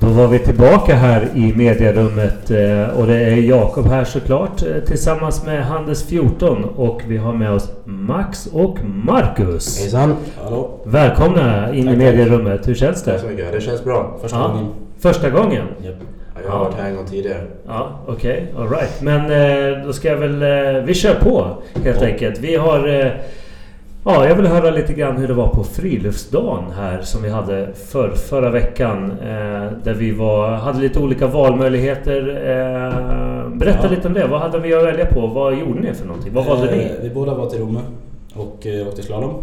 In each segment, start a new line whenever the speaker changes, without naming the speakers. Då var vi tillbaka här i medierummet eh, och det är Jakob här såklart eh, tillsammans med Handels 14 och vi har med oss Max och Marcus.
Hejsan!
Hallå?
Välkomna in i
Tack.
medierummet. Hur känns
Tack
det?
så mycket. Det känns bra. Första
Ja.
gången.
Första gången?
Japp.
Ja, jag har varit här en gång tidigare.
Ja, okej. all Alright. Men eh, då ska jag väl... Eh, vi kör på helt
Ja.
enkelt. Vi har... Eh, ja, jag vill höra lite grann hur det var på friluftsdagen här som vi hade för, förra veckan. Eh, där vi var, hade lite olika valmöjligheter. Eh, berätta
Ja.
lite om det. Vad hade vi att välja på? Vad gjorde ni för någonting? Vad valde
Eh,
ni?
Vi båda var till Romme och eh, åkte slalom.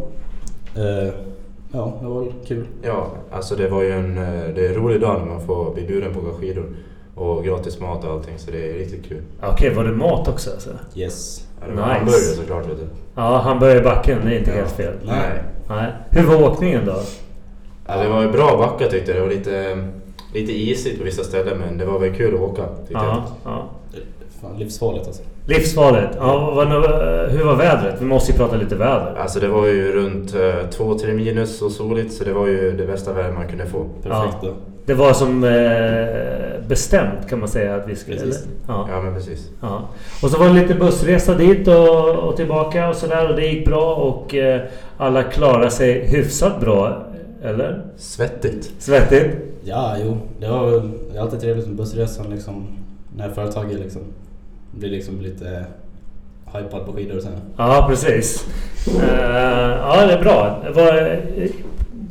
Eh, ja, det var väl kul.
Ja, alltså det var ju en, eh, det är en rolig dag när man får bli bjuden på att åka skidor. Och gratis mat och allting, så det är riktigt kul.
Ja, Okej, var det mat också alltså?
Yes.
Ja, det var
Nice.
hamburgare såklart vet du.
Ja, han börjar i backen. Det är inte
Ja.
helt fel.
Nej.
Nej. Hur var åkningen då?
Ja, det var ju bra backar tyckte jag. Det var lite, lite isigt på vissa ställen men det var väl kul att åka tyckte
Ja, ja.
Fan, livsfarligt alltså.
Livsfarligt. Ja, vad, vad- hur var vädret? Vi måste ju prata lite väder.
jag. Alltså det var ju runt 2-3 minus och soligt så det var ju det bästa väder man kunde få.
Perfekt
Ja.
då.
Det var som eh, bestämt kan man säga att vi skulle...
Precis.
eller? Ja,
Ja men precis.
ja. Och så var det lite bussresa dit och, och tillbaka och sådär och det gick bra och eh, alla klarade sig hyfsat bra. Eller?
Svettigt.
Svettigt?
Ja, jo. Det var väl det är alltid trevligt med bussresan liksom. När företaget liksom blir liksom lite eh, hypad på skidor sen.
Ja, precis. Eh, ja, det är bra. Det var,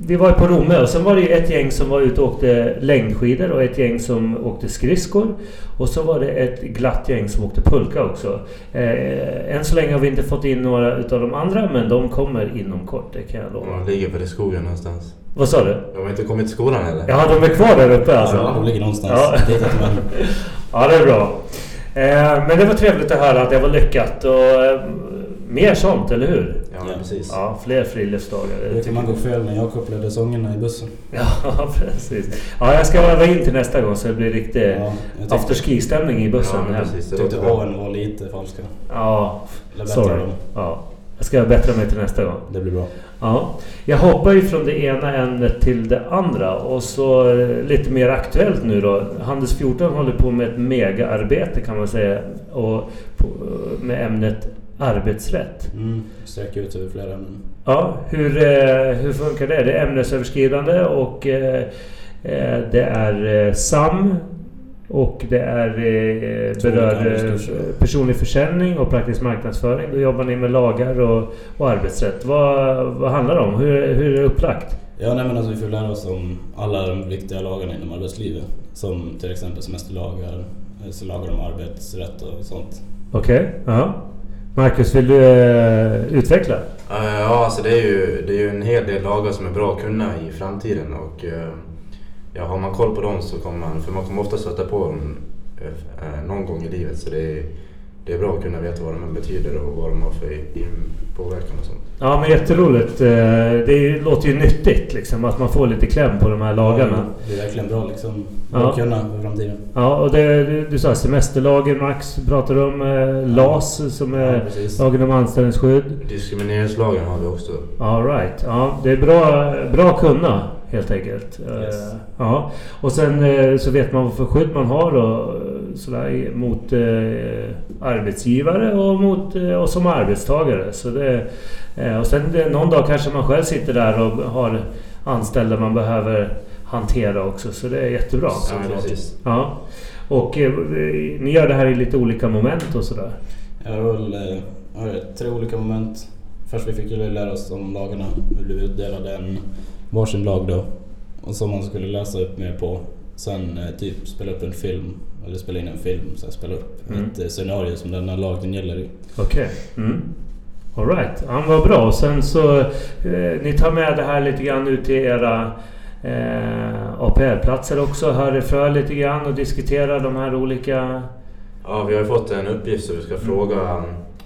vi var ju på Romme och sen var det ju ett gäng som var ute och åkte längdskidor och ett gäng som åkte skridskor. Och så var det ett glatt gäng som åkte pulka också. Eh, än så länge har vi inte fått in några utav de andra, men de kommer inom kort, det kan jag lova.
De ligger väl i skogen någonstans.
Vad sa du?
De har inte kommit till skolan heller.
Ja, de är kvar där uppe alltså?
Ja, de ligger någonstans.
Ja.
Dit att man,
Ja, det är bra. Eh, men det var trevligt att höra att det var lyckat och eh, mer sånt, eller hur?
Ja, men precis.
Ja, fler friluftsdagar. det
brukar man gå fel när Jakob ledde sångerna i bussen.
Ja, precis. Ja, jag ska öva in till nästa gång så det blir riktig
Ja, jag tyckte,
afterski-stämning i bussen
Ja, men
hem.
precis. Det
tyckte
låter bra.
A'n var lite falska.
Ja,
Eller bättre
sorry.
än dem.
Ja. Jag ska bättra mig till nästa gång.
Det blir bra.
Ja. Jag hoppar ju från det ena ämnet till det andra och så eh, lite mer aktuellt nu då. Handels 14 håller på med ett megaarbete kan man säga och på, eh, med ämnet arbetsrätt.
Mm. Sträck ut över flera ämnen.
Ja, hur, eh, hur funkar det? Det är ämnesöverskridande och eh, eh, det är eh, SAM och det är, eh, berör eh, personlig försäljning och praktisk marknadsföring. Då jobbar ni med lagar och, och arbetsrätt. Vad, vad handlar det om? Hur, hur är det upplagt?
Ja, nej, men alltså, vi får lära oss om alla de viktiga lagarna inom arbetslivet. Som till exempel semesterlagar, eh, så lagar om arbetsrätt och sånt.
Okej, ja. Marcus, vill du eh, utveckla?
Eh, Ja, alltså det är, ju, det är ju en hel del lagar som är bra att kunna i framtiden och eh, ja, har man koll på dem så kommer man, för man kommer ofta stöta på dem eh, någon gång i livet så det är, det är bra att kunna veta vad de här betyder och vad de har för i- in- påverkan och sånt.
Ja, men jätteroligt. Eh, Det är- låter ju nyttigt liksom, att man får lite kläm på de här lagarna.
Det är verkligen bra liksom.
Ja.
Bra att kunna för framtiden.
Ja, och det, du, du sa semesterlagen Max pratade om. Eh, LAS som
Ja,
är
precis.
lagen om anställningsskydd.
Diskrimineringslagen har vi också.
Alright. Ja, det är bra, bra att kunna helt enkelt. Eh,
Yes.
Ja. Och sen eh, så vet man vad för skydd man har då, eh, sådär, i- mot eh, arbetsgivare och, mot, eh, och som arbetstagare. Så det, eh, och sen det, någon dag kanske man själv sitter där och har anställda man behöver hantera också. Så det är jättebra.
Ja, men precis.
Ja. Och eh, ni gör det här i lite olika moment och sådär?
Ja, det var väl eh, vad var det, tre olika moment. Först vi fick ju lära oss om lagarna. Vi blev utdelade en varsin lag då. Och som man skulle läsa upp mer på. Sen eh, typ spela upp en film, eller spela in en film, sen spela upp
Mm.
ett eh, scenario som den här lagen gäller i.
Okej. Mm. Alright. Ja, men vad bra. Och sen så... Eh, ni tar med det här lite grann ut till era eh, APR-platser också. Hör er för lite grann och diskutera de här olika...
Ja, vi har ju fått en uppgift så vi
Mm.
ska fråga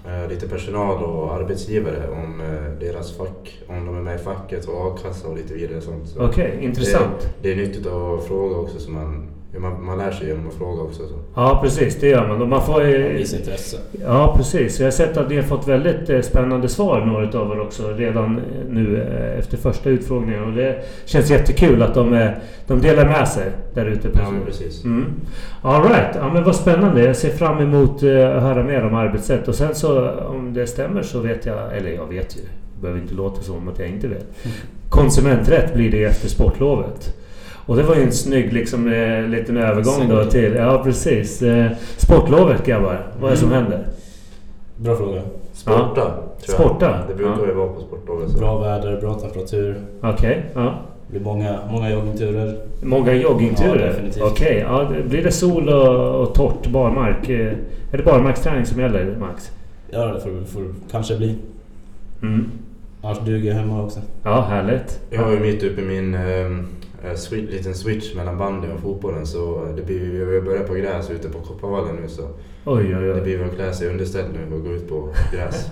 eh, lite personal och arbetsgivare om eh, deras fack, om de är med i facket och a-kassa och lite vidare sånt. Så.
Okej, intressant.
Det, det är nyttigt att fråga också så man Ja, man, man lär sig genom att fråga också. Så.
Ja, precis. Det gör man. Och man får,
Man
eh,
visar intresse.
Ja, precis. Jag har sett att ni har fått väldigt eh, spännande svar, några av er också, redan eh, nu eh, efter första utfrågningen. Och det känns jättekul att de, eh, de delar med sig där ute. på-
Ja, men precis.
Mm. All right. ja, men vad spännande. Jag ser fram emot eh, att höra mer om arbetssätt. Och sen så, om det stämmer så vet jag, eller jag vet ju, det behöver inte låta som att jag inte vet. Konsumenträtt blir det efter sportlovet. Och det var ju en snygg liksom, eh, liten övergång då
Snyggt.
till... Ja, precis. Eh, sportlovet grabbar, vad är det som
Mm.
händer?
Bra fråga.
Sporta, tror jag.
Sporta?
Det brukar
Ja.
ju vara på sportlovet. så.
Bra väder, bra temperatur.
Okej, ja.
Det blir många, många joggingturer.
Många
Ja,
joggingturer?
definitivt.
Okej, ja, det- blir det sol och, och torrt barmark? eh, Är det barmarksträning som gäller, Max?
Ja, det får, får kanske bli.
Mm.
Annars duger jag hemma också.
Ja, härligt.
Jag var ju mitt uppe i min eh, swi- liten switch mellan bandy och fotbollen så det blir, ju- vi börjar på gräs ute på Kopparvallen nu så
Oj, oj,
det
oj.
blir väl att klä sig i underställ nu och gå ut på gräs.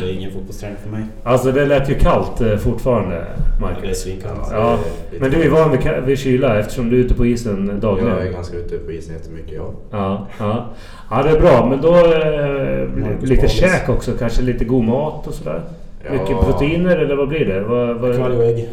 Det är ingen fotbollsträning för mig.
Alltså det lät ju kallt eh, fortfarande,
Ja, det är
Marcus.
svinkallt.
Ja,
Alltså, det
Men du är van vid, ka- vid kyla eftersom du är ute på isen dagligen?
Jag är ganska ute på isen jättemycket, ja.
Ja, ja. ja, det är bra. Men då eh, blir det
Marcus
lite
Wahlqvist.
käk också. Kanske lite god mat och sådär?
ja.
Mycket proteiner eller vad blir det? Vad,
Kvarg
vad,
och ägg.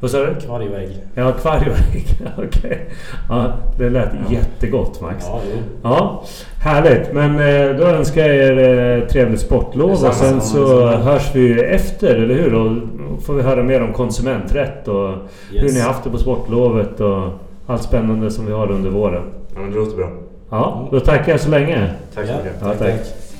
vad sa du?
Kvarg och ägg.
Ja, akvarieägg. Okej. Ja, det lät jättegott Max. Ja.
Ja, jo.
härligt. Men eh, då önskar jag er eh, trevligt sportlov och
Detsamma,
sen
detsamma,
så
detsamma.
hörs vi efter, eller hur? Och då får vi höra mer om konsumenträtt och hur
Yes.
ni har haft det på sportlovet och allt spännande som vi har under våren.
ja, men det låter bra.
Ja, då tackar jag så länge.
Tack så
Ja,
mycket.
Ja,
tack.
tack.
tack.